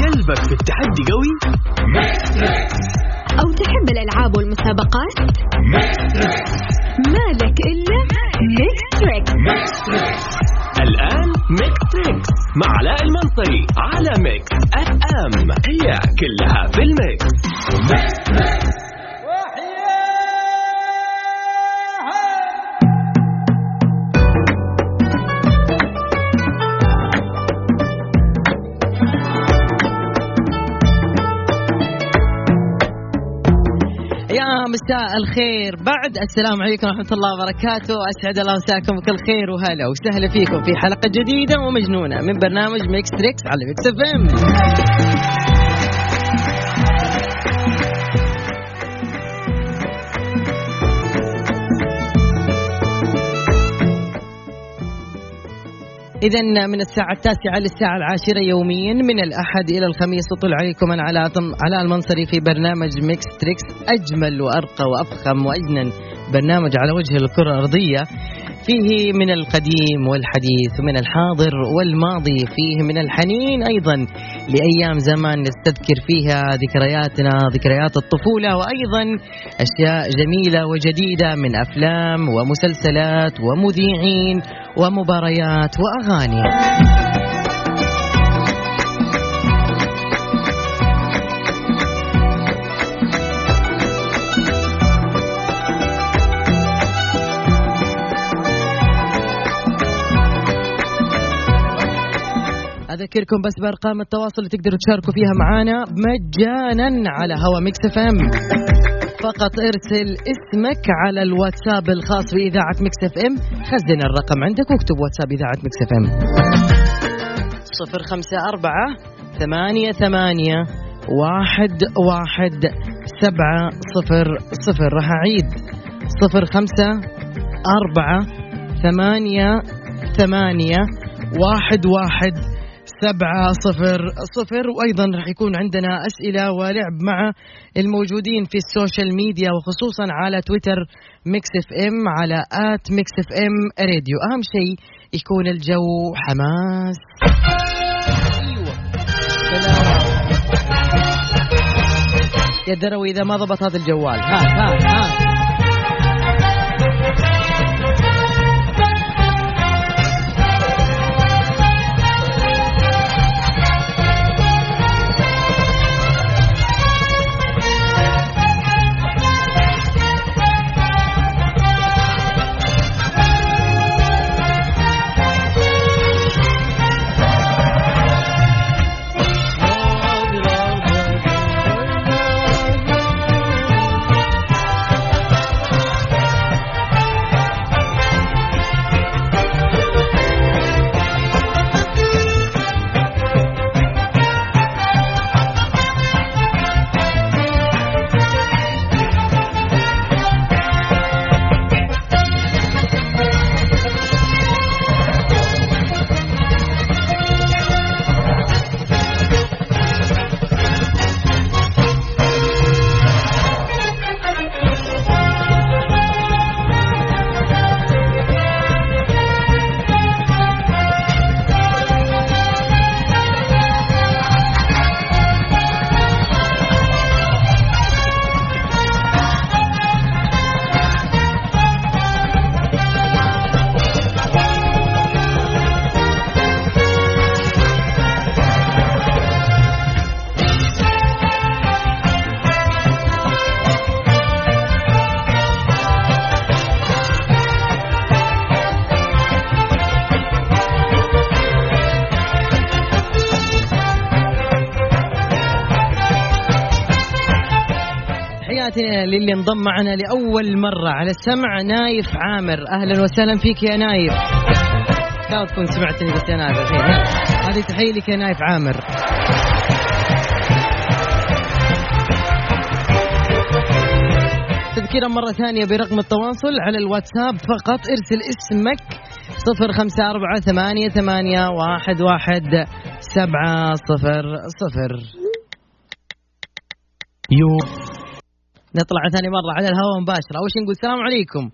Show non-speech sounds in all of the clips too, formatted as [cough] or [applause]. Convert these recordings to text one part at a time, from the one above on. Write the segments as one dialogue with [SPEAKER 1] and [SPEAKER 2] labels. [SPEAKER 1] قلبك في التحدي قوي؟
[SPEAKER 2] أو تحب الألعاب والمسابقات؟ مالك إلا ميكس تريكس
[SPEAKER 1] الآن ميكس تريكس مع علاء المنصري على ميكس اف ام هي كلها في الميكس
[SPEAKER 3] يا مساء الخير بعد السلام عليكم ورحمة الله وبركاته أسعد الله مساكم بكل خير وهلا وسهلا فيكم في حلقة جديدة ومجنونة من برنامج ميكس تريكس على ميكس اف ام إذا من الساعة التاسعة للساعة العاشرة يوميا من الأحد إلى الخميس أطل عليكم أنا علاء علاء المنصري في برنامج ميكس تريكس أجمل وأرقى وأفخم وأجنن برنامج على وجه الكرة الأرضية فيه من القديم والحديث من الحاضر والماضي فيه من الحنين أيضا لأيام زمان نستذكر فيها ذكرياتنا ذكريات الطفولة وأيضا أشياء جميلة وجديدة من أفلام ومسلسلات ومذيعين ومباريات وأغاني أذكركم بس بأرقام التواصل اللي تقدروا تشاركوا فيها معانا مجانا على هوا ميكس اف ام فقط ارسل اسمك على الواتساب الخاص بإذاعة ميكس اف ام خزن الرقم عندك واكتب واتساب إذاعة ميكس اف ام صفر خمسة أربعة ثمانية ثمانية واحد واحد سبعة صفر صفر راح أعيد صفر خمسة أربعة ثمانية ثمانية واحد واحد سبعة صفر صفر وأيضا راح يكون عندنا أسئلة ولعب مع الموجودين في السوشيال ميديا وخصوصا على تويتر ميكس اف ام على آت ميكس اف ام راديو أهم شيء يكون الجو حماس أيوة سلام. يا دروي إذا ما ضبط هذا الجوال هات هات هات تحياتنا للي انضم معنا لأول مرة على السمع نايف عامر أهلا وسهلا فيك يا نايف لا تكون سمعتني بس يا نايف الحين هذه تحية لك يا نايف عامر تذكيرا مرة ثانية برقم التواصل على الواتساب فقط ارسل اسمك صفر خمسة أربعة ثمانية ثمانية واحد واحد سبعة صفر صفر
[SPEAKER 1] يو
[SPEAKER 3] نطلع ثاني مرة على الهواء مباشرة أول شيء نقول السلام عليكم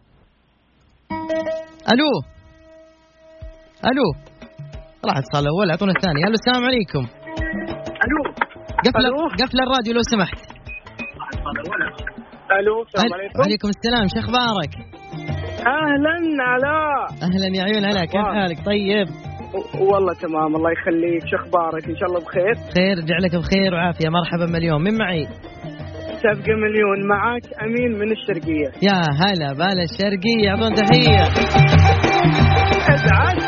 [SPEAKER 3] ألو الو راح اتصل اول اعطونا الثاني الو السلام عليكم
[SPEAKER 4] الو
[SPEAKER 3] قفل
[SPEAKER 4] ألو.
[SPEAKER 3] قفل الراديو لو سمحت
[SPEAKER 4] الو السلام عليكم
[SPEAKER 3] وعليكم السلام شو اخبارك؟
[SPEAKER 4] اهلا علاء
[SPEAKER 3] اهلا يا عيون هلا كيف
[SPEAKER 4] أخبارك؟
[SPEAKER 3] حالك طيب
[SPEAKER 4] و- والله تمام الله يخليك شو اخبارك ان شاء الله بخير
[SPEAKER 3] خير ارجع لك بخير وعافيه مرحبا مليون من معي
[SPEAKER 4] تبقى مليون معاك امين من الشرقيه
[SPEAKER 3] يا هلا بلا الشرقيه اعطونا تحيه
[SPEAKER 4] العب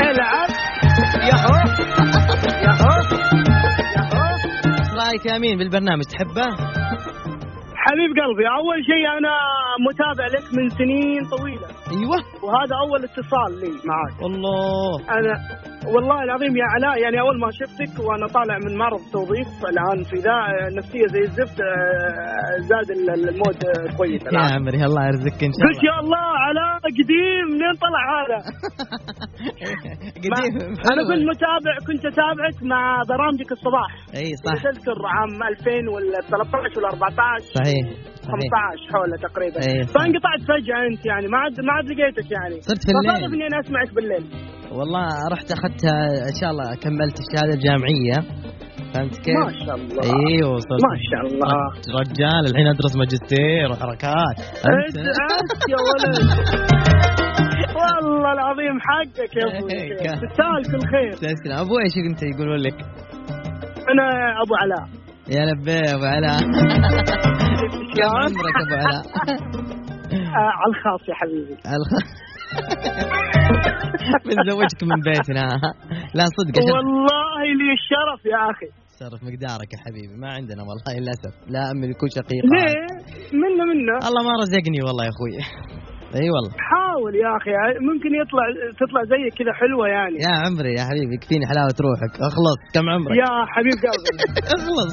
[SPEAKER 4] العب يا هو يا هو يا هو
[SPEAKER 3] ايش رايك يا امين بالبرنامج تحبه؟
[SPEAKER 4] حبيب قلبي اول شيء انا متابع لك من سنين طويله
[SPEAKER 3] ايوه
[SPEAKER 4] وهذا اول اتصال لي معاك
[SPEAKER 3] والله
[SPEAKER 4] انا والله العظيم يا علاء يعني اول ما شفتك وانا طالع من معرض توظيف الان في ذا نفسيه زي الزفت آه، زاد ال- المود آه، كويس
[SPEAKER 3] يا
[SPEAKER 4] الان
[SPEAKER 3] عمري الله يرزقك ان نعم، شاء
[SPEAKER 4] قلت
[SPEAKER 3] الله
[SPEAKER 4] يا الله علاء قديم منين طلع هذا؟
[SPEAKER 3] [laughs] قديم
[SPEAKER 4] ما- انا كنت متابع كنت اتابعك مع برامجك الصباح
[SPEAKER 3] اي صح
[SPEAKER 4] تذكر عام 2000 ولا 13 ولا 14
[SPEAKER 3] صحيح صحيح
[SPEAKER 4] 15 حوله تقريبا
[SPEAKER 3] إيه، صح.
[SPEAKER 4] فانقطعت فجاه انت يعني ما عاد ما عاد لقيتك يعني
[SPEAKER 3] صرت في الليل.
[SPEAKER 4] فصادف اني انا اسمعك بالليل
[SPEAKER 3] والله رحت اخذت ان شاء الله كملت الشهاده الجامعيه فهمت كيف؟
[SPEAKER 4] ما شاء الله
[SPEAKER 3] ايوه صرت
[SPEAKER 4] ما شاء الله
[SPEAKER 3] رجال الحين ادرس ماجستير وحركات أنت-
[SPEAKER 4] ادعس إيه، يا ولد [laughs] والله العظيم حقك يا ابوي
[SPEAKER 3] إيه، كان.
[SPEAKER 4] تستاهل كل خير
[SPEAKER 3] تسلم ابوي ايش انت يقولون لك؟
[SPEAKER 4] انا ابو علاء
[SPEAKER 3] يا لبيه ابو
[SPEAKER 4] [laughs]
[SPEAKER 3] علاء كم
[SPEAKER 4] شلون؟
[SPEAKER 3] عمرك ابو
[SPEAKER 4] [laughs]
[SPEAKER 3] علاء؟
[SPEAKER 4] آه، على الخاص يا حبيبي
[SPEAKER 3] الخ- [laughs] بنزوجك من بيتنا ها؟ لا صدق عشان
[SPEAKER 4] والله لي الشرف يا اخي
[SPEAKER 3] تصرف مقدارك يا حبيبي ما عندنا والله للاسف لا امي يكون شقيق
[SPEAKER 4] ليه؟ منا منا
[SPEAKER 3] الله ما رزقني والله يا اخوي اي والله
[SPEAKER 4] حاول يا اخي ممكن يطلع تطلع زيك كذا حلوه يعني
[SPEAKER 3] يا عمري يا حبيبي يكفيني حلاوه روحك اخلص كم عمرك [laughs]
[SPEAKER 4] يا حبيب قلبي [laughs]
[SPEAKER 3] اخلص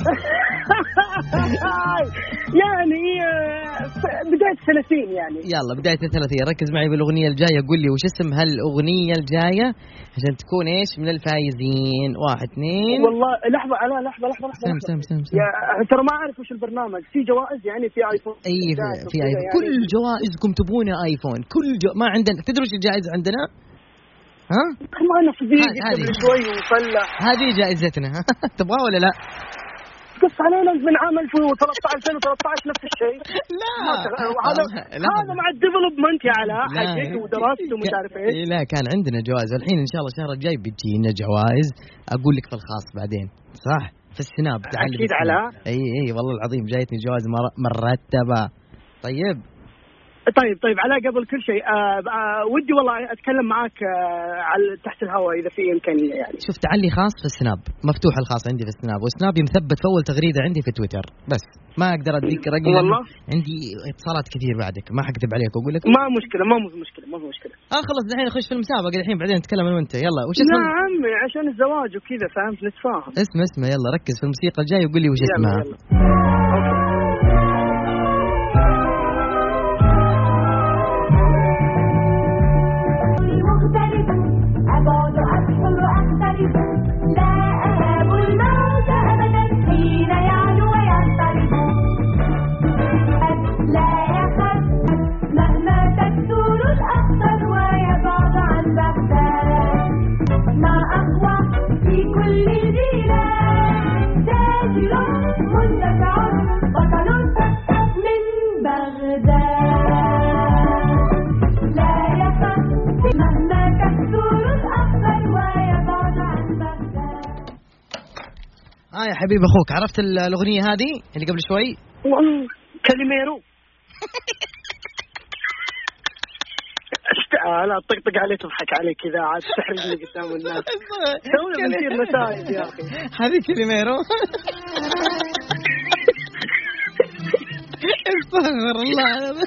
[SPEAKER 4] يعني آه، بدايه 30 يعني
[SPEAKER 3] يلا بداية الثلاثية ركز معي بالأغنية الجاية قول لي وش اسم هالأغنية الجاية عشان تكون إيش من الفايزين واحد اثنين
[SPEAKER 4] والله لحظه علاء لحظه لحظه لحظه
[SPEAKER 3] سم
[SPEAKER 4] لحظة.
[SPEAKER 3] سم سم سم
[SPEAKER 4] يا ترى ما اعرف وش البرنامج في جوائز يعني في ايفون
[SPEAKER 3] اي في-
[SPEAKER 4] جائزة
[SPEAKER 3] في
[SPEAKER 4] وكذا
[SPEAKER 3] ايفون
[SPEAKER 4] يعني.
[SPEAKER 3] كل جوائزكم تبونه ايفون كل جو... ما عندنا تدري وش الجائزة عندنا؟ ها؟
[SPEAKER 4] ما انا صديق
[SPEAKER 3] هذه- هذه.
[SPEAKER 4] قبل شوي وطلع
[SPEAKER 3] هذه جائزتنا [laughs] تبغاها ولا لا؟
[SPEAKER 4] قص علينا من عام 2013 2013 نفس الشيء
[SPEAKER 3] لا آه،
[SPEAKER 4] ما تغ- هذا
[SPEAKER 3] لا.
[SPEAKER 4] هذا مع الديفلوبمنت يا علاء
[SPEAKER 3] لا. إيه.
[SPEAKER 4] حقك ودراسته ومش عارف ايش
[SPEAKER 3] لا كان عندنا جوائز والحين ان شاء الله الشهر الجاي بتجينا جوائز اقول لك في الخاص بعدين صح في السناب تعال
[SPEAKER 4] أكيد
[SPEAKER 3] بالسناب.
[SPEAKER 4] على.
[SPEAKER 3] اي اي والله العظيم جايتني جوائز مر- مرتبه طيب
[SPEAKER 4] طيب طيب علاء قبل كل شيء آه آه ودي والله اتكلم معاك آه على تحت الهواء اذا في امكانيه يعني
[SPEAKER 3] شوف تعلي خاص في السناب مفتوح الخاص عندي في السناب والسناب مثبت في اول تغريده عندي في تويتر بس ما اقدر اديك رقم لأنه
[SPEAKER 4] والله؟
[SPEAKER 3] عندي اتصالات كثير بعدك ما حكذب عليك واقول لك آه،
[SPEAKER 4] ما مشكله ما مو مشكله ما مو مشكله
[SPEAKER 3] اخلص الحين نخش في المسابقه الحين بعدين نتكلم انا وانت يلا وش
[SPEAKER 4] لا
[SPEAKER 3] اسم
[SPEAKER 4] عمي نعم، عشان الزواج وكذا فهمت نتفاهم
[SPEAKER 3] اسمه اسمه يلا ركز في الموسيقى الجايه وقول لي وش
[SPEAKER 4] يلا،
[SPEAKER 3] اسمها
[SPEAKER 4] يلا. أوكي.
[SPEAKER 5] مختلف أبعد أشهر أختلف لا أهاب الموت أبدا حين يعلو وينطلق قد لا يخف مهما تكثر الأخطر ويبعد عن بغداد ما أقوى في كل البلاد تاجر منتفع بطل من بغداد لا يفر مهما تكثر الأخضر ويبعد عن بغداد
[SPEAKER 3] اه يا حبيب اخوك عرفت ال- الاغنيه هذه اللي قبل شوي
[SPEAKER 4] [laughs] والله كلميرو أشت- آه، لا طقطق عليه تضحك عليه كذا عاد تحرجني قدام الناس تونا بنصير مساعد يا أخي.
[SPEAKER 3] هذه كلميرو استغفر الله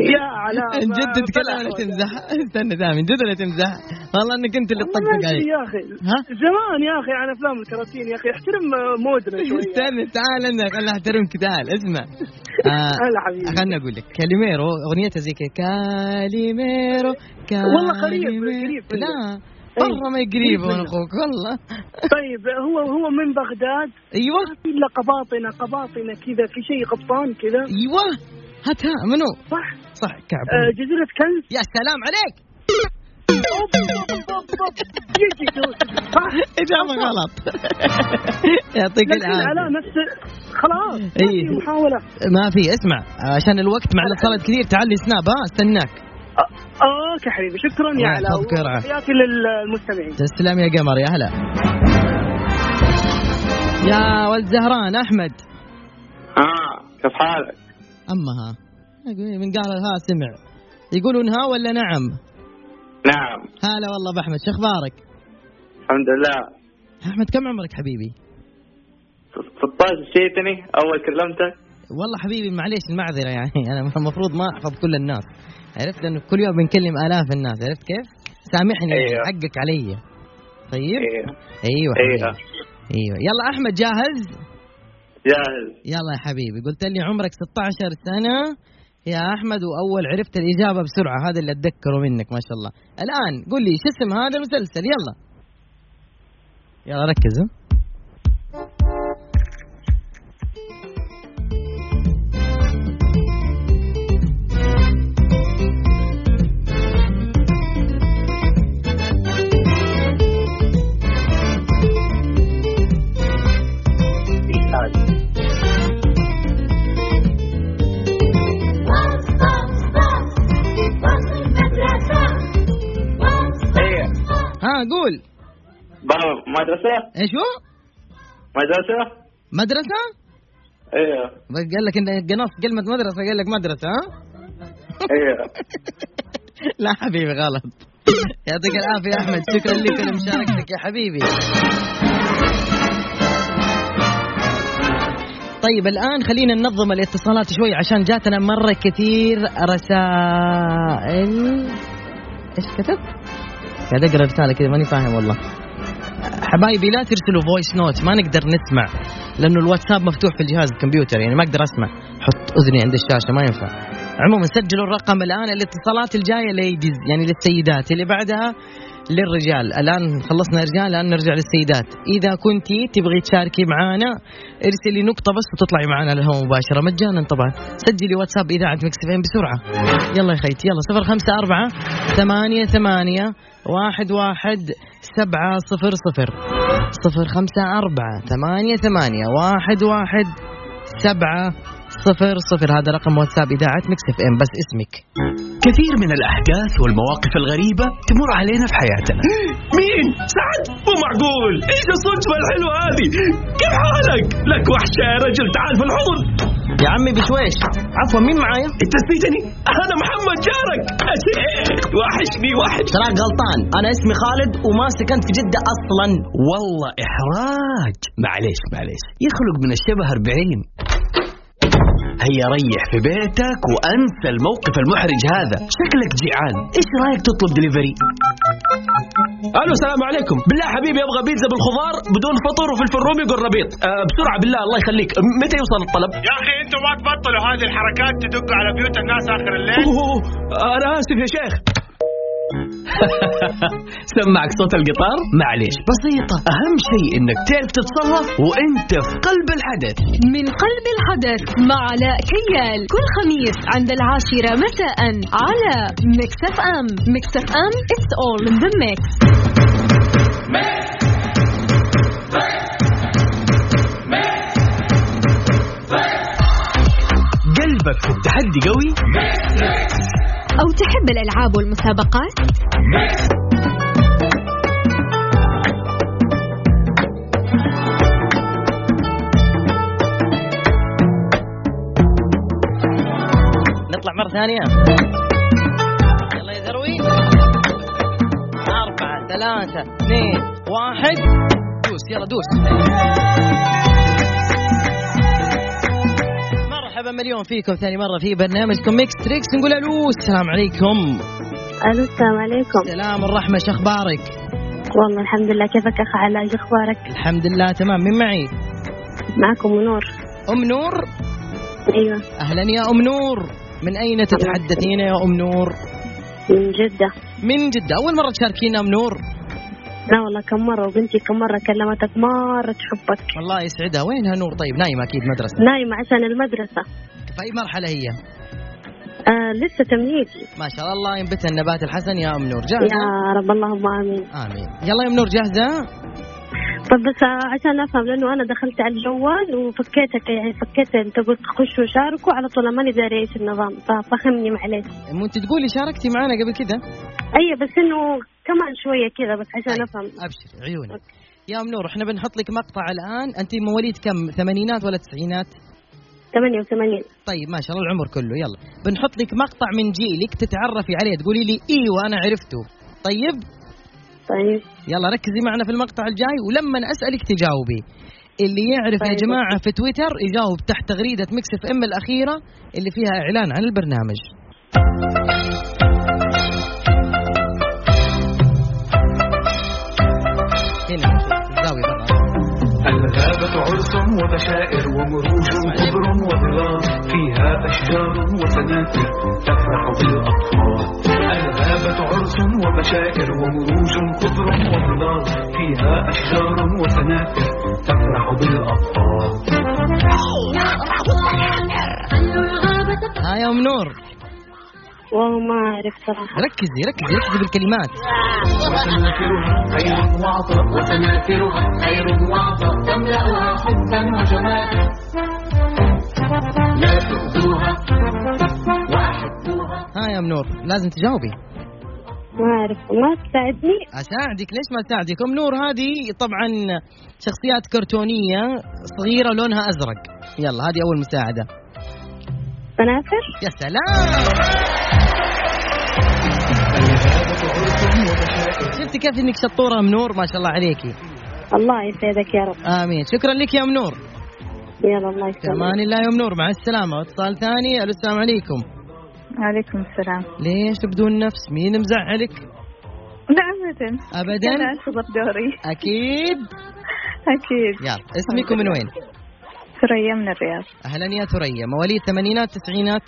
[SPEAKER 4] يا
[SPEAKER 3] [laughs]
[SPEAKER 4] علاء
[SPEAKER 3] نجدد كلام ولا تمزح استنى دام نجد ولا تمزح والله انك انت [laughs] اللي تطقطق علي
[SPEAKER 4] يا اخي
[SPEAKER 3] ها؟
[SPEAKER 4] زمان يا اخي عن افلام الكراتين يا اخي احترم مودنا شوي
[SPEAKER 3] استنى تعال انا خلنا احترمك تعال
[SPEAKER 4] [laughs]
[SPEAKER 3] اسمع آه،
[SPEAKER 4] هلا حبيبي.
[SPEAKER 3] خلنا اقول لك كاليميرو اغنيتها زي كذا كاليميرو كاليميرو
[SPEAKER 4] والله قريب- إيه. قريب منه.
[SPEAKER 3] لا
[SPEAKER 4] أي،
[SPEAKER 3] مره ما قريب
[SPEAKER 4] قريب
[SPEAKER 3] من
[SPEAKER 4] منه.
[SPEAKER 3] اخوك والله
[SPEAKER 4] طيب هو هو من بغداد
[SPEAKER 3] ايوه
[SPEAKER 4] ما في الا قباطنه قباطنه كذا في شيء قبطان كذا
[SPEAKER 3] ايوه هاتها منو
[SPEAKER 4] صح
[SPEAKER 3] صح كعب
[SPEAKER 4] آه، جزيره كنز
[SPEAKER 3] يا سلام عليك
[SPEAKER 4] يجي
[SPEAKER 3] إجابة غلط [laughs] يعطيك العافية
[SPEAKER 4] العلاء نفس خلاص ما
[SPEAKER 3] إيه.
[SPEAKER 4] في محاولة
[SPEAKER 3] ما في اسمع عشان الوقت مع الاتصالات كثير تعالي سناب ها استناك
[SPEAKER 4] آه، اوكي حبيبي شكرا
[SPEAKER 3] الله
[SPEAKER 4] يا علاء
[SPEAKER 3] يحفظك يا رعا.
[SPEAKER 4] وتحياتي للمستمعين
[SPEAKER 3] تسلم يا قمر يا هلا يا ولد زهران احمد
[SPEAKER 6] اه كيف حالك؟
[SPEAKER 3] اما ها أقول من قال ها سمع يقولون ها ولا نعم
[SPEAKER 6] نعم
[SPEAKER 3] هلا والله باحمد شو اخبارك
[SPEAKER 6] الحمد لله
[SPEAKER 3] احمد كم عمرك حبيبي
[SPEAKER 6] 16 نسيتني اول كلمتك
[SPEAKER 3] والله حبيبي معليش المعذره يعني [laughs] انا المفروض ما احفظ كل الناس عرفت لانه كل يوم بنكلم الاف الناس عرفت كيف؟ سامحني
[SPEAKER 6] أيوه.
[SPEAKER 3] حقك علي طيب
[SPEAKER 6] إيه.
[SPEAKER 3] ايوه
[SPEAKER 6] ايوه
[SPEAKER 3] حبيبي. ايوه يلا احمد جاهز؟
[SPEAKER 6] جاهز
[SPEAKER 3] يلا يا حبيبي قلت لي عمرك 16 سنه يا احمد واول عرفت الاجابه بسرعه هذا اللي اتذكره منك ما شاء الله الان قل لي شو اسم هذا المسلسل يلا يلا ركزوا
[SPEAKER 5] باص باص باص باص المدرسة باص
[SPEAKER 6] ايوه
[SPEAKER 3] ها قول
[SPEAKER 6] بابا مدرسه
[SPEAKER 3] ايش هو؟
[SPEAKER 6] مدرسه
[SPEAKER 3] مدرسه؟
[SPEAKER 6] ايوه
[SPEAKER 3] قال لك انك قنصت كلمه مدرسه قال لك مدرسه ها؟
[SPEAKER 6] ايوه
[SPEAKER 3] [laughs] لا حبيبي غلط يعطيك العافية يا أحمد شكرا لك لمشاركتك يا حبيبي طيب الآن خلينا ننظم الاتصالات شوي عشان جاتنا مرة كثير رسائل ايش كتب؟ قاعد اقرا رسالة كذا ماني فاهم والله حبايبي لا ترسلوا فويس نوت ما نقدر نسمع لانه الواتساب مفتوح في الجهاز الكمبيوتر يعني ما اقدر اسمع حط اذني عند الشاشه ما ينفع عموما سجلوا الرقم الان الاتصالات الجايه ليديز يعني للسيدات اللي بعدها للرجال الان خلصنا رجال الان نرجع للسيدات اذا كنتي تبغي تشاركي معانا ارسلي نقطه بس وتطلعي معنا على الهواء مباشره مجانا طبعا سجلي واتساب اذاعه مكسفين بسرعه يلا يا خيتي يلا 054 ثمانية ثمانية واحد واحد سبعة صفر صفر صفر خمسة أربعة ثمانية ثمانية واحد واحد سبعة صفر صفر هذا رقم واتساب إذاعة مكسف ام بس اسمك
[SPEAKER 1] كثير من الأحداث والمواقف الغريبة تمر علينا في حياتنا [gasps] مين؟ سعد؟ مو معقول إيش الصدفة الحلوة هذه؟ كيف حالك؟ لك وحشة يا رجل تعال في الحضن
[SPEAKER 3] يا عمي بشويش عفوا مين معايا؟
[SPEAKER 1] انت نسيتني؟ أنا محمد جارك وحشني وحش
[SPEAKER 3] تراك غلطان أنا اسمي خالد وما سكنت في جدة أصلا
[SPEAKER 1] والله إحراج معليش معليش يخلق من الشبه 40 هيا ريح في بيتك وأنسى الموقف المحرج هذا شكلك جيعان إيش رأيك تطلب دليفري الو السلام عليكم بالله حبيبي ابغى بيتزا بالخضار بدون فطر وفلفل رومي والربيط أه بسرعه بالله الله يخليك متى يوصل الطلب
[SPEAKER 7] يا اخي انتم ما تبطلوا هذه الحركات تدقوا على بيوت الناس اخر الليل
[SPEAKER 1] أوه انا اسف يا شيخ [laughs] سمعك صوت القطار؟ معليش بسيطة أهم شيء إنك تعرف تتصرف وإنت في قلب الحدث
[SPEAKER 2] من قلب الحدث مع علاء كيال كل خميس عند العاشرة مساء على ميكس اف ام ميكس اف ام it's all in the mix
[SPEAKER 1] قلبك في التحدي قوي
[SPEAKER 2] أو تحب الألعاب والمسابقات
[SPEAKER 3] نطلع مرة ثانية يلا يا ذروي أربعة ثلاثة اثنين واحد دوس يلا دوس مرحبا مليون فيكم ثاني مرة في برنامجكم ميكس تريكس نقول ألو السلام عليكم
[SPEAKER 8] الو السلام عليكم
[SPEAKER 3] سلام الرحمة شخبارك
[SPEAKER 8] والله الحمد لله كيفك اخ علاء شو اخبارك
[SPEAKER 3] الحمد لله تمام من معي
[SPEAKER 8] معكم نور
[SPEAKER 3] أم نور
[SPEAKER 5] أيوة،
[SPEAKER 8] ايوه
[SPEAKER 3] أهلا يا أم نور من أين تتحدثين يا أم نور
[SPEAKER 8] من جده
[SPEAKER 3] من جدة أول مرة تشاركينا أم نور
[SPEAKER 8] لا والله كم مره وبنتي كم مره كلمتك مره تحبك
[SPEAKER 3] الله يسعدها وينها نور طيب نايمة أكيد مدرسة طيب،
[SPEAKER 8] نايمه عشان المدرسه
[SPEAKER 3] في أي مرحلة هي
[SPEAKER 5] آه لسه تمهيدي
[SPEAKER 3] ما شاء الله ينبت النبات الحسن يا ام نور جاهزه
[SPEAKER 5] يا رب اللهم امين
[SPEAKER 3] امين يلا يا ام نور جاهزه
[SPEAKER 5] طب بس آه، عشان افهم لانه انا دخلت على الجوال وفكيتك يعني فكيت انت قلت خش وشاركوا على طول ماني داري ايش النظام ففهمني معليش
[SPEAKER 3] مو انت تقولي شاركتي معنا قبل كذا
[SPEAKER 5] اي بس انه كمان شويه كذا بس عشان
[SPEAKER 3] طيب.
[SPEAKER 5] افهم
[SPEAKER 3] ابشر عيوني يا ام نور احنا بنحط لك مقطع الان انت مواليد كم ثمانينات ولا تسعينات
[SPEAKER 5] 88
[SPEAKER 3] طيب ما شاء الله العمر كله يلا بنحط لك مقطع من جيلك تتعرفي عليه تقولي لي ايوه انا عرفته طيب
[SPEAKER 5] طيب
[SPEAKER 3] يلا ركزي معنا في المقطع الجاي ولما اسالك تجاوبي اللي يعرف يا
[SPEAKER 5] طيب.
[SPEAKER 3] جماعه في تويتر يجاوب تحت تغريده ميكس اف ام الاخيره اللي فيها اعلان عن البرنامج هنا الزاويه برا
[SPEAKER 9] الغابة عرس وبشائر ومروج وخضر وظلال فيها أشجار وسنافر تفرح بالأطفال الغابة عرس وبشائر ومروج خضر وظلال فيها أشجار وسنافر تفرح بالأطفال
[SPEAKER 3] ها يا ام نور
[SPEAKER 5] والله ما اعرف صراحه
[SPEAKER 3] ركزي ركزي ركزي بالكلمات
[SPEAKER 9] وسنافرها خير وعطاء وسنافرها خير وعطاء تملأها حبا وجمالا لا تؤذوها وأحبوها
[SPEAKER 3] ها يا ام نور لازم تجاوبي
[SPEAKER 5] ما اعرف ما تساعدني
[SPEAKER 3] اساعدك ليش ما اساعدك ام نور هذه طبعا شخصيات كرتونيه صغيره لونها ازرق يلا هذه اول مساعده
[SPEAKER 5] سنافر
[SPEAKER 3] يا سلام شفتي كيف انك شطوره ام نور ما شاء الله عليكي
[SPEAKER 5] الله يسعدك يا رب
[SPEAKER 3] امين شكرا لك يا ام نور
[SPEAKER 5] يلا الله
[SPEAKER 3] في امان
[SPEAKER 5] يسلمك
[SPEAKER 3] الله يا ام نور مع السلامه اتصال ثاني الو السلام عليكم
[SPEAKER 4] عليكم السلام
[SPEAKER 3] ليش تبدون نفس مين مزعلك
[SPEAKER 4] لا ابدا انا
[SPEAKER 3] ابدا
[SPEAKER 4] انتظر دوري
[SPEAKER 3] اكيد
[SPEAKER 4] اكيد
[SPEAKER 3] يلا اسمك ومن وين
[SPEAKER 4] ثريا من الرياض
[SPEAKER 3] اهلا يا ثريا مواليد ثمانينات تسعينات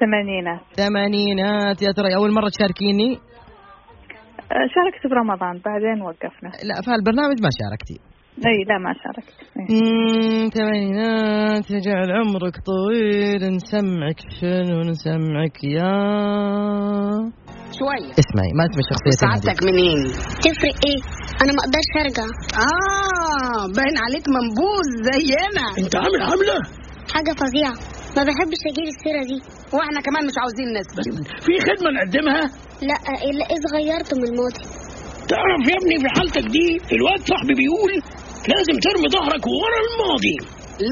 [SPEAKER 4] ثمانينات
[SPEAKER 3] ثمانينات يا ترى اول مره تشاركيني
[SPEAKER 4] آه، شاركت برمضان بعدين وقفنا
[SPEAKER 3] لا في هالبرنامج ما شاركتي
[SPEAKER 4] اي لا ما شاركت إيه.
[SPEAKER 3] مم، ثمانينات يجعل عمرك طويل نسمعك شنو نسمعك يا
[SPEAKER 1] شوية
[SPEAKER 3] اسمعي ما اسمي شخصية
[SPEAKER 1] سعادتك منين؟
[SPEAKER 10] تفرق ايه؟ انا ما اقدرش ارجع
[SPEAKER 1] آه باين عليك منبوذ زينا
[SPEAKER 11] انت عامل عامله
[SPEAKER 10] حاجه فظيعه ما بحبش اجيب السيره دي
[SPEAKER 1] واحنا كمان مش عاوزين نسمع
[SPEAKER 11] في خدمه نقدمها
[SPEAKER 10] لا الا اذ غيرت من الماضي
[SPEAKER 11] تعرف يا ابني في حالتك دي الواد صاحبي بيقول لازم ترمي ظهرك ورا الماضي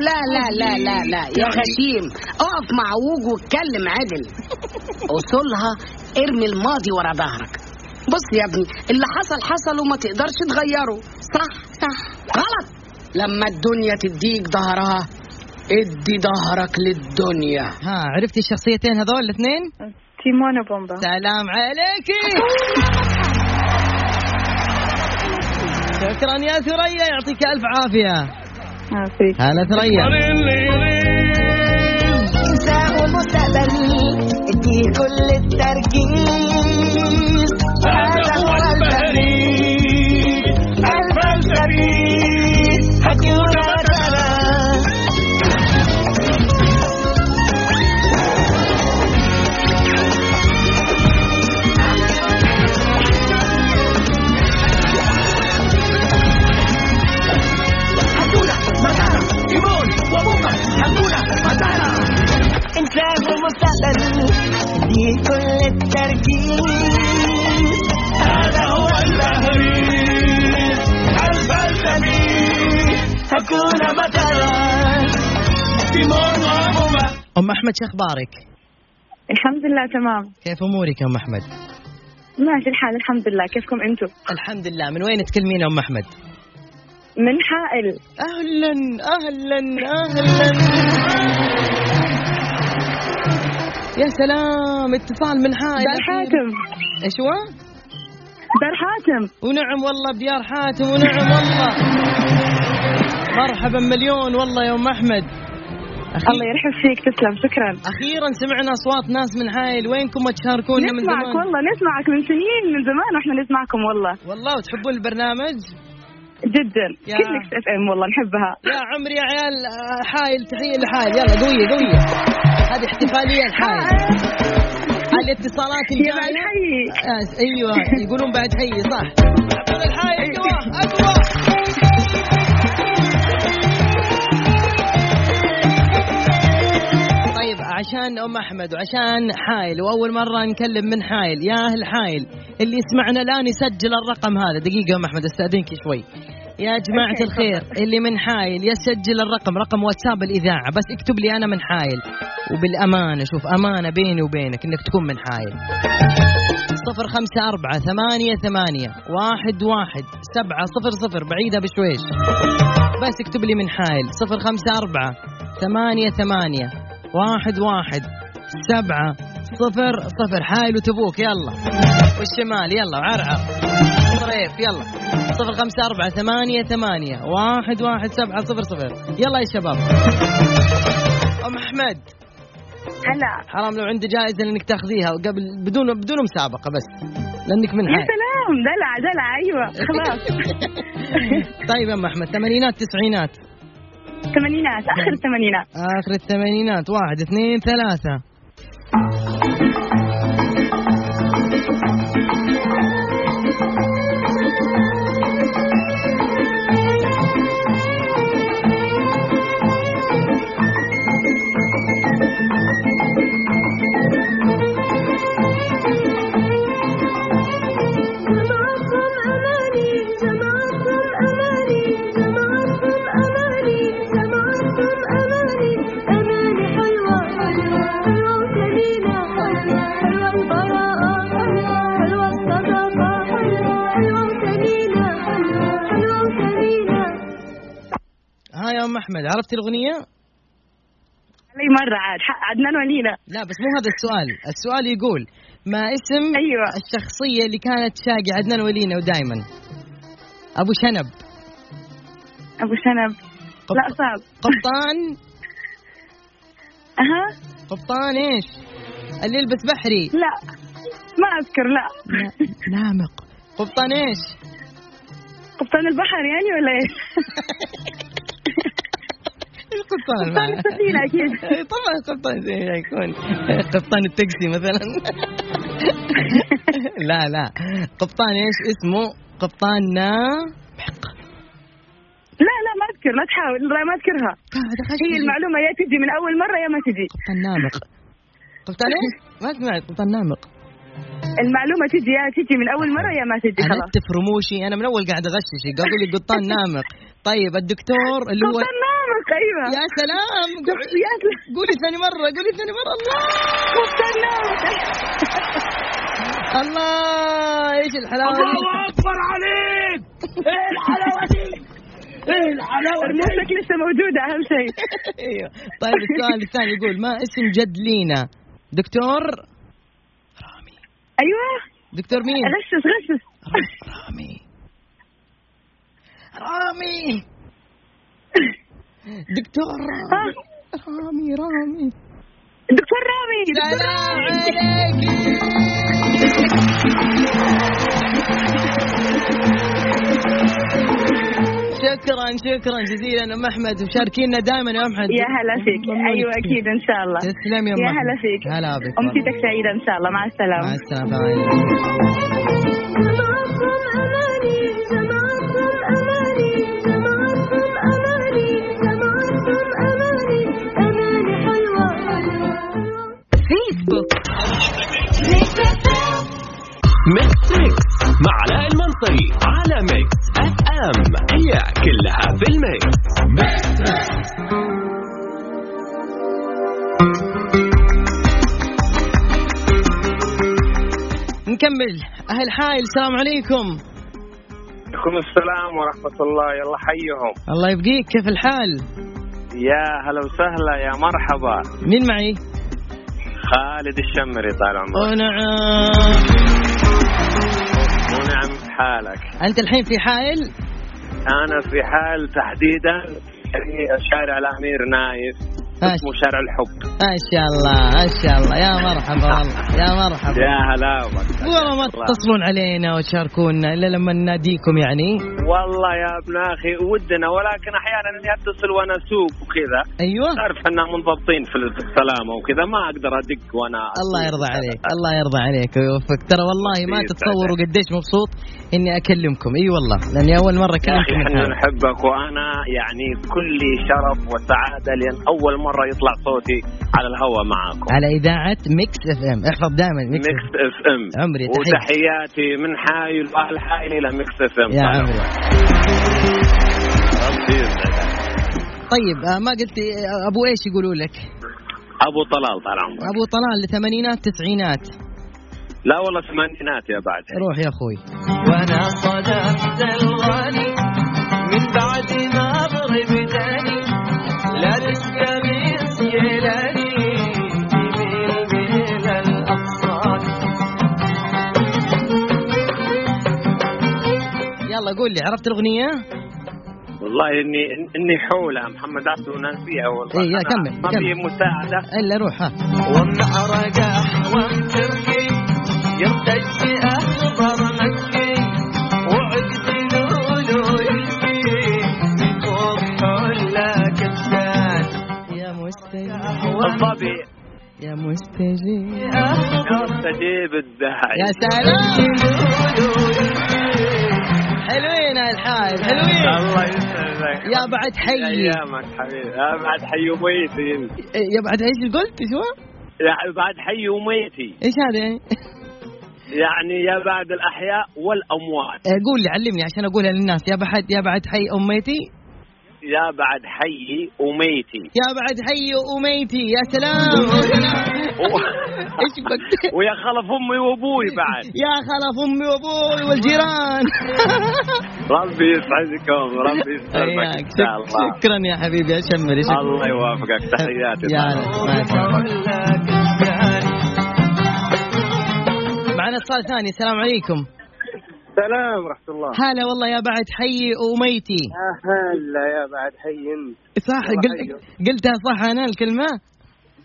[SPEAKER 1] لا لا لا لا لا يا غشيم اقف مع ووج واتكلم عدل اصولها ارمي الماضي ورا ظهرك بص يا ابني اللي حصل حصل وما تقدرش تغيره صح صح غلط لما الدنيا تديك ظهرها ادي ظهرك للدنيا
[SPEAKER 3] ها عرفتي الشخصيتين هذول الاثنين
[SPEAKER 4] تيمون وبومبا
[SPEAKER 3] سلام عليكي شكرا يا ثريا يعطيك الف عافيه
[SPEAKER 4] آه، فيك.
[SPEAKER 3] هلا ثريا
[SPEAKER 1] انت ومستقبلي ادي كل التركيز هذا هو البريد الفلسفي هتكون مثلا انت ومستقبلي ادي كل التركيز هذا هو البريد الفلسفي هكون مثلا تيمون وبومبا
[SPEAKER 3] ام احمد شو اخبارك
[SPEAKER 4] الحمد لله تمام
[SPEAKER 3] كيف امورك يا ام احمد
[SPEAKER 4] ماشي الحال الحمد لله كيفكم انتم
[SPEAKER 3] الحمد لله من وين تكلمين يا ام احمد
[SPEAKER 4] من حائل
[SPEAKER 3] اهلا اهلا اهلا يا سلام اتصال من حائل
[SPEAKER 4] دار حاتم
[SPEAKER 3] ايش هو؟
[SPEAKER 4] دار حاتم
[SPEAKER 3] ونعم والله بديار حاتم ونعم والله مرحبا مليون والله يا ام احمد
[SPEAKER 4] الله يرحب فيك تسلم شكرا
[SPEAKER 3] اخيرا سمعنا اصوات ناس من حائل وينكم ما تشاركونا من
[SPEAKER 4] نسمعك
[SPEAKER 3] زمان
[SPEAKER 4] والله نسمعك من سنين من زمان واحنا نسمعكم والله
[SPEAKER 3] والله وتحبون البرنامج
[SPEAKER 4] جدا
[SPEAKER 3] يا-
[SPEAKER 4] كل ميكس اف ام والله نحبها
[SPEAKER 3] يا عمري يا عيال آه، حايل تحيه لحايل يلا قويه قويه هذه احتفاليه لحايل الاتصالات الجايه
[SPEAKER 12] يا بعد حي.
[SPEAKER 3] آه، ايوه يقولون بعد حي صح عبد الحي اقوى اقوى طيب عشان ام احمد وعشان حايل واول مره نكلم من حايل يا اهل حايل اللي يسمعنا الان يسجل الرقم هذا دقيقه يا ام احمد استاذنك شوي يا جماعة الخير اللي من حايل يسجل الرقم رقم واتساب الإذاعة بس اكتب لي أنا من حايل وبالأمانة شوف أمانة بيني وبينك إنك تكون من حايل صفر خمسة أربعة ثمانية ثمانية واحد واحد سبعة صفر صفر بعيدة بشويش بس اكتب لي من حايل صفر خمسة أربعة ثمانية ثمانية واحد واحد سبعة صفر صفر حايل وتبوك يلا والشمال يلا وعرعر طريف يلا صفر خمسة أربعة ثمانية ثمانية واحد واحد سبعة صفر صفر يلا يا شباب أم أحمد
[SPEAKER 4] هلا
[SPEAKER 3] حرام لو عندي جائزة لأنك تاخذيها قبل بدون بدون مسابقة بس لأنك من
[SPEAKER 4] يا
[SPEAKER 2] [laughs]
[SPEAKER 3] حايل
[SPEAKER 4] سلام دلع دلع ايوه
[SPEAKER 3] [laughs]
[SPEAKER 4] خلاص
[SPEAKER 3] طيب يا أم أحمد ثمانينات تسعينات
[SPEAKER 4] ثمانينات اخر الثمانينات
[SPEAKER 3] آخر الثمانينات واحد اثنين ثلاثة ها يا أم أحمد عرفتي الأغنية؟
[SPEAKER 4] علي مره عاد حق عدنان ولينا
[SPEAKER 3] لا بس مو هذا السؤال السؤال يقول ما اسم أيوة. الشخصية اللي كانت شاقي عدنان ولينا ودايما أبو شنب
[SPEAKER 4] ابو شنب لا صعب
[SPEAKER 3] قبطان
[SPEAKER 4] اها
[SPEAKER 3] قبطان إيش اللي يلبس
[SPEAKER 4] [laughs]
[SPEAKER 3] بحري
[SPEAKER 4] لا ما اذكر لا
[SPEAKER 3] نامق قبطان إيش
[SPEAKER 4] قبطان البحر يعني
[SPEAKER 3] [laughs]
[SPEAKER 4] ولا ايه؟
[SPEAKER 3] قبطان
[SPEAKER 4] قبطان السفينة
[SPEAKER 3] [laughs]
[SPEAKER 4] أكيد.
[SPEAKER 3] طبعا قبطان السفينة يكون قبطان التاكسي
[SPEAKER 4] [laughs]
[SPEAKER 3] مثلا لا لا قبطان ايش اسمه قبطان نا
[SPEAKER 4] لا لا ما اذكر لا تحاول لا ما اذكرها هي المعلومه يا تجي من اول مره يا ما تجي
[SPEAKER 3] قبطان نامق قبطان ايش؟ ما سمعت قبطان نامق
[SPEAKER 4] المعلومه تجي يا تجي من اول مره يا ما تجي
[SPEAKER 3] انا
[SPEAKER 4] خلاص
[SPEAKER 3] انت في رموشي انا من اول قاعد اغششك اقول لك
[SPEAKER 4] [laughs]
[SPEAKER 3] قبطان نامق طيب الدكتور اللي هو
[SPEAKER 4] قبطان نامق ايوه
[SPEAKER 3] يا [laughs] سلام قول-
[SPEAKER 4] يا سلام
[SPEAKER 3] قولي ثاني مره قولي ثاني مره الله
[SPEAKER 4] قبطان نامق
[SPEAKER 3] [laughs] الله ايش الحلاوه [laughs] دي؟
[SPEAKER 13] اكبر عليك ايه الحلاوه دي ايه الحلاوه
[SPEAKER 4] رموشك لسه موجوده اهم شيء
[SPEAKER 3] ايوه طيب السؤال الثاني يقول ما اسم جد لينا دكتور
[SPEAKER 4] ايوه
[SPEAKER 3] دكتور مين
[SPEAKER 4] غشش غشش
[SPEAKER 3] رامي [laughs] رامي دكتور رامي رامي رامي
[SPEAKER 4] دكتور رامي
[SPEAKER 3] [laughs]
[SPEAKER 4] دكتور
[SPEAKER 3] سلام
[SPEAKER 4] رامي.
[SPEAKER 3] عليك شكرا شكرا جزيلا ام احمد مشاركينا دائما يا ام احمد
[SPEAKER 4] يا هلا فيك
[SPEAKER 3] ممنونك
[SPEAKER 4] ايوه اكيد ان شاء الله
[SPEAKER 3] تسلم يا ام
[SPEAKER 4] يا
[SPEAKER 3] أحمد.
[SPEAKER 4] هلا فيك
[SPEAKER 3] هلا بك
[SPEAKER 4] امسيتك سعيده ان شاء الله مع
[SPEAKER 3] مع
[SPEAKER 4] السلامه
[SPEAKER 3] السلامه
[SPEAKER 5] فيسبوك
[SPEAKER 1] ميكس ميكس مع علاء المنصري على ميكس اف ام هي كلها في الميكس
[SPEAKER 3] نكمل اهل حائل السلام عليكم
[SPEAKER 6] عليكم السلام ورحمة الله يلا حيهم
[SPEAKER 3] الله يبقيك كيف الحال
[SPEAKER 6] يا هلا وسهلا يا مرحبا
[SPEAKER 3] مين معي
[SPEAKER 6] خالد الشمري طال عمرك
[SPEAKER 3] ونعم
[SPEAKER 6] ونعم نعم حالك
[SPEAKER 3] انت الحين في حائل
[SPEAKER 6] أنا في حال تحديدا في شارع الأمير نايف اسمه شارع الحب
[SPEAKER 3] ان شاء الله ان شاء الله يا
[SPEAKER 6] [laughs]
[SPEAKER 3] مرحبا والله يا مرحبا
[SPEAKER 6] يا هلا والله.
[SPEAKER 3] والله ما تتصلون علينا وتشاركونا الا لما نناديكم يعني
[SPEAKER 6] والله يا ابن اخي ودنا ولكن احيانا اني اتصل وانا اسوق وكذا
[SPEAKER 3] ايوه
[SPEAKER 6] تعرف اننا منضبطين في السلامه وكذا ما اقدر ادق وانا
[SPEAKER 3] الله يرضى عليك الله يرضى عليك ويوفقك ترى والله ما تتصوروا قديش مبسوط اني اكلمكم اي والله لاني اول مره
[SPEAKER 6] يا اخي
[SPEAKER 3] اكلمكم
[SPEAKER 6] احنا نحبك وانا يعني كلي شرف وسعاده لان اول مره يطلع صوتي على الهواء معاكم
[SPEAKER 3] على اذاعه ميكس اف ام احفظ دائما ميكس
[SPEAKER 6] ميكس اف ام
[SPEAKER 3] عمري، تحية.
[SPEAKER 6] وتحياتي من حايل واهل حايل الى ميكس اف ام
[SPEAKER 3] يا عمري.
[SPEAKER 6] ربي يسعدك.
[SPEAKER 3] طيب آه، ما قلت آه، ابو ايش يقولوا لك
[SPEAKER 6] ابو طلال طال عمرك
[SPEAKER 3] ابو طلال الثمانينات تسعينات
[SPEAKER 6] لا والله ثمانينات يا بعد
[SPEAKER 3] روح يا اخوي
[SPEAKER 14] وانا صدفت الغالي من بعد ما اضرب تاني لا تستميس يلاني جميل من الاقصى
[SPEAKER 3] يلا قول لي عرفت الاغنيه
[SPEAKER 6] والله اني اني حوله محمد عبده وناسيها والله
[SPEAKER 3] إيه، يا
[SPEAKER 6] أنا
[SPEAKER 3] كمل،
[SPEAKER 6] ما في
[SPEAKER 3] كمل.
[SPEAKER 6] مساعده
[SPEAKER 3] الا روح ها
[SPEAKER 14] ومعرق احوام تركي يرتج اخضر مكي وعقد لولو يلقي وضح ولا كبسان
[SPEAKER 3] يا مستجيب
[SPEAKER 6] الصبي
[SPEAKER 3] يا مستجيب
[SPEAKER 6] مستجيب الداعي
[SPEAKER 3] يا سلام حلوين الحال حلوين
[SPEAKER 6] الله يسعدك
[SPEAKER 3] يا بعد حي
[SPEAKER 6] ايامك حبيبي يا بعد حي وميتي انت
[SPEAKER 3] يا بعد ايش قلت شو
[SPEAKER 6] يا بعد حي وميتي
[SPEAKER 3] ايش هذا يعني [laughs]
[SPEAKER 6] يعني يا بعد الاحياء والاموات
[SPEAKER 3] آه، قول لي علمني عشان اقولها للناس يا بعد يا بعد حي اميتي
[SPEAKER 6] يا بعد حي
[SPEAKER 3] [laughs]
[SPEAKER 6] وميتي
[SPEAKER 3] يا بعد حي اميتي يا
[SPEAKER 6] [laughs]
[SPEAKER 3] سلام يا سلام. ايش قلت
[SPEAKER 6] ويا خلف امي وابوي بعد
[SPEAKER 3] يا خلف امي وابوي والجيران
[SPEAKER 6] ربي يسعدكم ربي يسعدك
[SPEAKER 3] حياك.
[SPEAKER 6] ان شاء الله
[SPEAKER 3] شكرا يا حبيبي يا شمري شكرا
[SPEAKER 6] الله يوافقك تحياتي
[SPEAKER 3] يا هلا. مع السلامة.
[SPEAKER 14] ولا كبسان
[SPEAKER 3] معنا اتصال ثاني السلام عليكم
[SPEAKER 4] سلام ورحمة الله
[SPEAKER 3] هلا والله يا بعد حي اميتي
[SPEAKER 4] هلا يا بعد حي انت
[SPEAKER 3] صح
[SPEAKER 4] والله
[SPEAKER 3] قل...
[SPEAKER 4] حلو.
[SPEAKER 3] قلتها صح انا الكلمه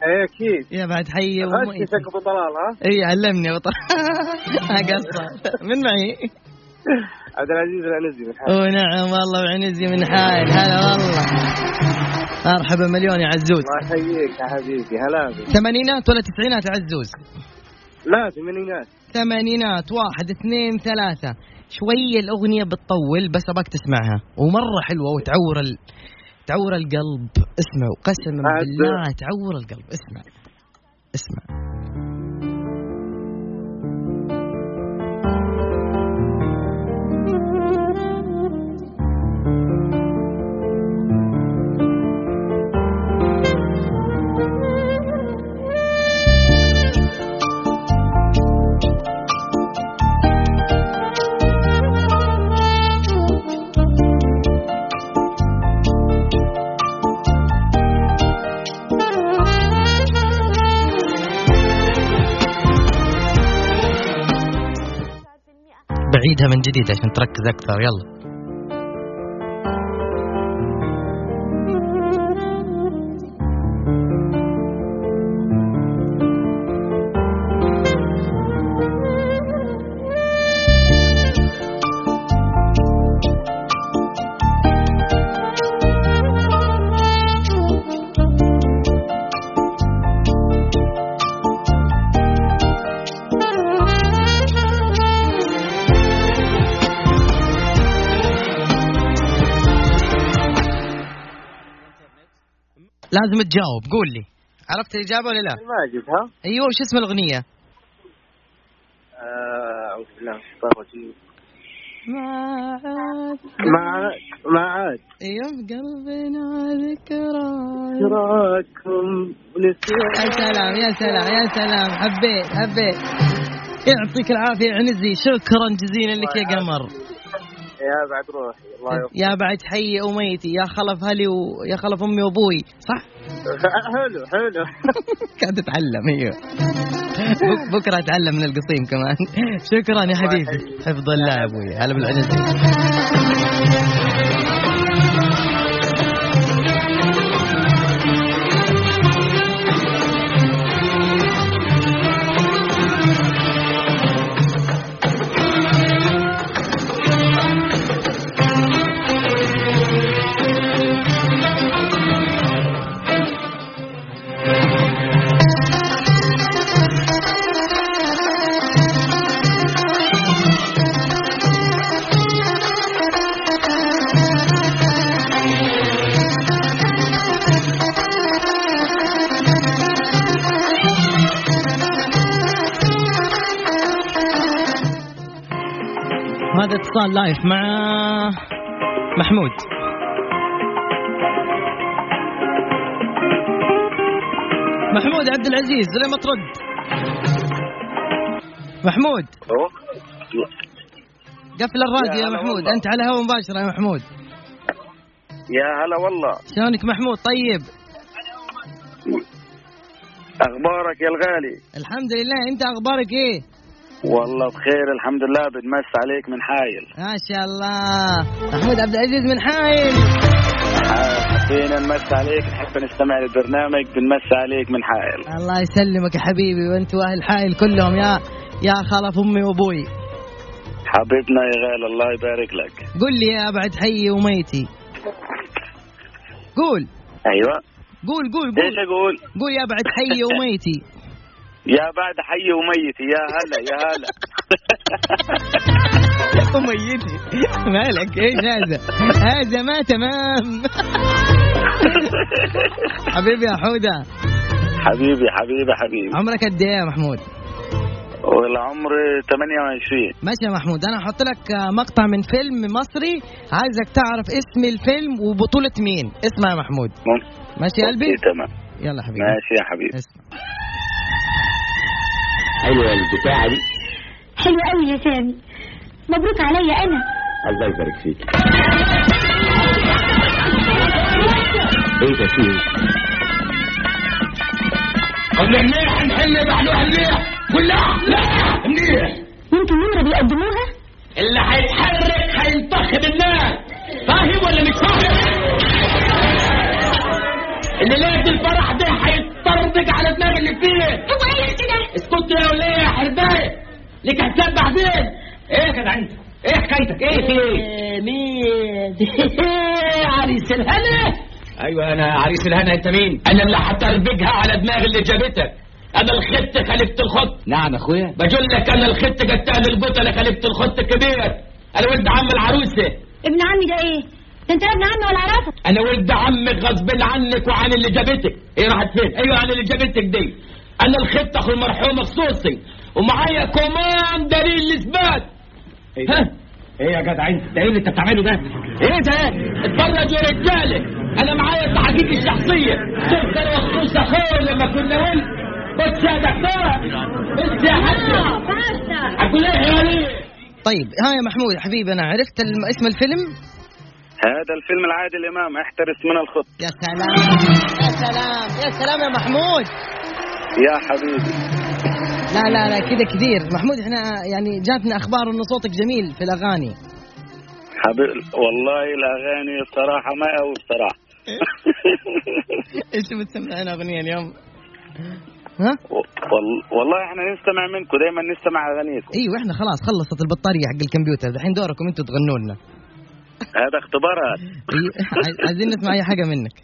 [SPEAKER 4] ايه اكيد
[SPEAKER 3] يا بعد حي وميتي
[SPEAKER 4] غششك ابو طلال ها
[SPEAKER 3] اي علمني [laughs] وطر اقصر من معي
[SPEAKER 4] عبد العزيز العنزي من حالك.
[SPEAKER 3] ونعم نعم، والله وعنزي من حائل هلا والله مرحبا مليون يا عزوز
[SPEAKER 4] الله يحييك يا حبيبي هلا بك
[SPEAKER 3] ثمانينات ولا تسعينات يا عزوز
[SPEAKER 4] لا ثمانينات
[SPEAKER 3] ثمانينات واحد اثنين ثلاثة شوية الأغنية بتطول بس أباك تسمعها ومرة حلوة وتعور ال... تعور القلب اسمعوا قسما
[SPEAKER 4] عاد-
[SPEAKER 3] بالله تعور القلب اسمع اسمع بعيدها من جديد عشان تركز أكثر يلا لازم تجاوب قول لي عرفت الإجابة ولا لا؟
[SPEAKER 4] الماجد ها
[SPEAKER 3] أيوه وش اسم الأغنية؟
[SPEAKER 4] آه، أعوذ بالله من الشيطان الرجيم
[SPEAKER 3] ما عاد
[SPEAKER 4] ما عاد ما عاد
[SPEAKER 3] ايوه قلبنا ذكرى
[SPEAKER 4] ذكراكم نسيان
[SPEAKER 3] يا سلام يا سلام يا سلام حبيت حبيت يعطيك العافية يا عنزي شكرا جزيلا لك يا قمر
[SPEAKER 4] يا بعد روحي الله يوفقك
[SPEAKER 3] يا بعد حي أميتي يا خلف هلي ويا خلف أمي وأبوي صح؟ [laughs]
[SPEAKER 4] حلو حلو
[SPEAKER 3] قاعد أتعلم أيوه بك- بكرة أتعلم من القصيم كمان شكرا يا حبيبي حفظ الله يا أبوي هلا بالعنزي هذا اتصال لايف مع محمود محمود عبد العزيز ليه ما ترد محمود قفل الراديو
[SPEAKER 9] يا
[SPEAKER 3] يا
[SPEAKER 9] هلا
[SPEAKER 3] محمود
[SPEAKER 9] والله.
[SPEAKER 3] انت على هوا مباشره يا محمود
[SPEAKER 6] يا هلا والله
[SPEAKER 3] شلونك محمود طيب
[SPEAKER 6] اخبارك يا الغالي
[SPEAKER 3] الحمد لله انت اخبارك ايه
[SPEAKER 6] والله بخير الحمد لله بنمس عليك من حايل
[SPEAKER 3] ما شاء الله محمود عبد العزيز من حايل
[SPEAKER 6] فينا نمس عليك نحب نستمع للبرنامج بنمس عليك من حايل
[SPEAKER 3] الله يسلمك يا حبيبي وانت واهل حائل كلهم يا يا خلف امي وابوي
[SPEAKER 6] حبيبنا يا غالي الله يبارك لك
[SPEAKER 3] قل لي يا ابعد حي وميتي قول
[SPEAKER 6] ايوه
[SPEAKER 3] قول قول قول
[SPEAKER 6] ايش اقول؟
[SPEAKER 3] قول يا ابعد حي وميتي [laughs]
[SPEAKER 6] يا بعد حي وميتي يا هلا يا هلا [laughs]
[SPEAKER 3] وميتي مالك ايش هذا هذا ما تمام [laughs] حبيبي يا حوده
[SPEAKER 6] حبيبي حبيبي حبيبي
[SPEAKER 3] عمرك قد ايه يا محمود
[SPEAKER 6] والله عمري 28
[SPEAKER 3] ماشي يا محمود انا هحط لك آه، مقطع من فيلم مصري عايزك تعرف اسم الفيلم وبطولة مين اسمع يا محمود ماشي يا قلبي
[SPEAKER 6] أوكي، تمام
[SPEAKER 3] يلا حبيبي
[SPEAKER 6] ماشي يا حبيبي
[SPEAKER 15] حلوه البتاعه دي
[SPEAKER 5] حلو قوي يا سامي مبروك عليا انا
[SPEAKER 15] الله يبارك فيك ايه ده فيه
[SPEAKER 9] قبل منيح نحل بحلوها منيح كلها لا منيح
[SPEAKER 5] وانتوا نمرة بيقدموها
[SPEAKER 9] اللي هيتحرك هينطخ بالنار فاهم ولا مش فاهم اللي لقيت الفرح ده هيطردك على دماغ اللي فيه هو ايه كده اسكت يا وليه يا حربايه ليك حساب بعدين ايه كده انت ايه حكايتك ايه في ايه مين عريس الهنا
[SPEAKER 16] ايوه انا عريس الهنا انت مين
[SPEAKER 9] انا اللي هتربجها على دماغ اللي جابتك انا الخط خلفت الخط
[SPEAKER 16] نعم اخويا
[SPEAKER 9] بقول لك انا الخط جبتها للبطله خلفت الخط كبير انا ولد عم العروسه
[SPEAKER 5] ابن عمي ده ايه ده انت ابن عمي ولا اعرفك
[SPEAKER 9] انا ولد عمك غصب عنك وعن اللي جابتك ايه راحت فين ايوه عن اللي جابتك دي انا الخط اخو المرحوم الصوصي ومعايا كمان دليل الاثبات
[SPEAKER 16] إيه
[SPEAKER 9] ها
[SPEAKER 16] ايه يا جدع انت ده ايه اللي انت بتعمله ده إيه
[SPEAKER 9] ايه ده اتفرج يا رجاله انا معايا تحقيقي الشخصيه شفت انا والصوص اخوي لما كنا ولد بص يا دكتوره بص يا حاجه اقول ايه يا وليد
[SPEAKER 3] طيب ها يا محمود حبيبي انا عرفت الم... اسم الفيلم
[SPEAKER 6] هذا الفيلم العادل امام احترس من الخط
[SPEAKER 3] يا سلام يا سلام يا سلام يا محمود
[SPEAKER 6] يا حبيبي
[SPEAKER 3] لا لا لا كذا كثير محمود احنا يعني جاتنا اخبار انه صوتك جميل في الاغاني
[SPEAKER 6] حبيبي والله الاغاني بصراحه ما قوي بصراحه
[SPEAKER 3] ايش بتسمعنا اغنيه اليوم؟
[SPEAKER 6] [laughs] وال- والله احنا نستمع منكم دايما نستمع اغانيكم
[SPEAKER 3] ايوه احنا خلاص خلصت البطاريه حق الكمبيوتر الحين دوركم انتم تغنوا لنا
[SPEAKER 6] هذا اختبار هذا
[SPEAKER 3] إيه، عايز- عايزين نسمع اي حاجه منك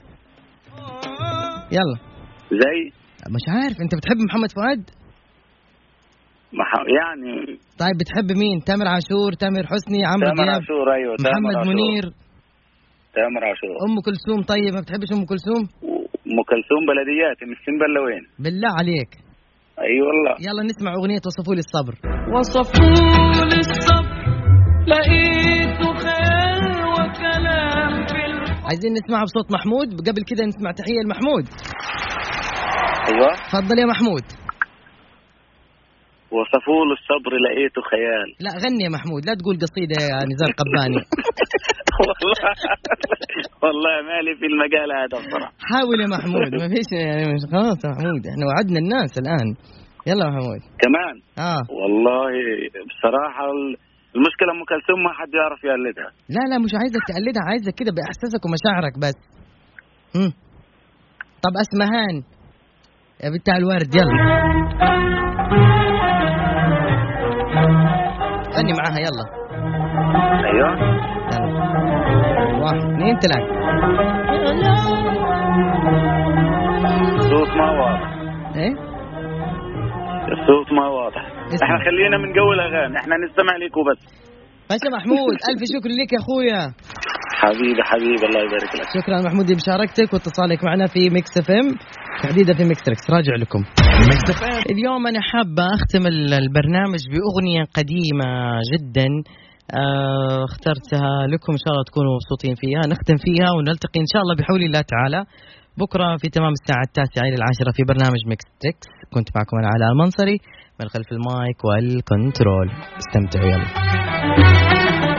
[SPEAKER 3] يلا
[SPEAKER 6] زي
[SPEAKER 3] مش عارف انت بتحب محمد فؤاد؟
[SPEAKER 6] مح- يعني
[SPEAKER 3] طيب بتحب مين؟ تامر عاشور، تامر حسني، عمرو
[SPEAKER 6] تامر
[SPEAKER 3] دياب،
[SPEAKER 6] عاشور ايوه تامر
[SPEAKER 3] محمد
[SPEAKER 6] عاشور
[SPEAKER 3] منير،
[SPEAKER 6] تامر عاشور
[SPEAKER 3] ام كلثوم طيب ما بتحبش ام كلثوم؟
[SPEAKER 6] ام كلثوم بلديات من السن بلا وين
[SPEAKER 3] بالله عليك
[SPEAKER 6] اي والله
[SPEAKER 3] يلا نسمع اغنيه وصفوا لي الصبر
[SPEAKER 9] وصفوا لي الصبر لقيته خير وكلام في
[SPEAKER 3] عايزين نسمعها بصوت محمود قبل كده نسمع تحيه لمحمود
[SPEAKER 6] ايوه
[SPEAKER 3] تفضل يا محمود
[SPEAKER 6] وصفوا له الصبر لقيته خيال [laughs]
[SPEAKER 3] لا غني يا محمود لا تقول قصيده يا نزار قباني
[SPEAKER 6] والله والله مالي في المجال هذا بصراحه
[SPEAKER 3] حاول يا محمود ما فيش يعني مش خلاص يا محمود احنا وعدنا الناس الان يلا يا محمود
[SPEAKER 6] كمان
[SPEAKER 3] اه
[SPEAKER 6] والله بصراحه ال- المشكله ام كلثوم ما حد يعرف يقلدها
[SPEAKER 3] لا لا مش عايزك تقلدها عايزك كده باحساسك ومشاعرك بس مم. طب اسمهان يا بتاع الورد يلا غني معاها يلا
[SPEAKER 6] ايوه
[SPEAKER 3] واحد اثنين ثلاثة
[SPEAKER 6] الصوت ما واضح
[SPEAKER 3] ايه
[SPEAKER 6] الصوت ما واضح احنا خلينا من جو الاغاني احنا نستمع ليكوا بس
[SPEAKER 3] ماشي يا محمود الف شكر لك يا اخويا
[SPEAKER 6] حبيبي حبيبي الله يبارك لك
[SPEAKER 3] شكرا محمود لمشاركتك واتصالك معنا في ميكس اف ام تحديدا في ميكس ركس راجع لكم اليوم انا حابه اختم ال- البرنامج باغنيه قديمه جدا آه، اخترتها لكم ان شاء الله تكونوا مبسوطين فيها نختم فيها ونلتقي ان شاء الله بحول الله تعالى بكره في تمام الساعه التاسعه الى العاشره في برنامج ميكس تريكس كنت معكم انا علاء المنصري من خلف المايك والكنترول استمتعوا يلا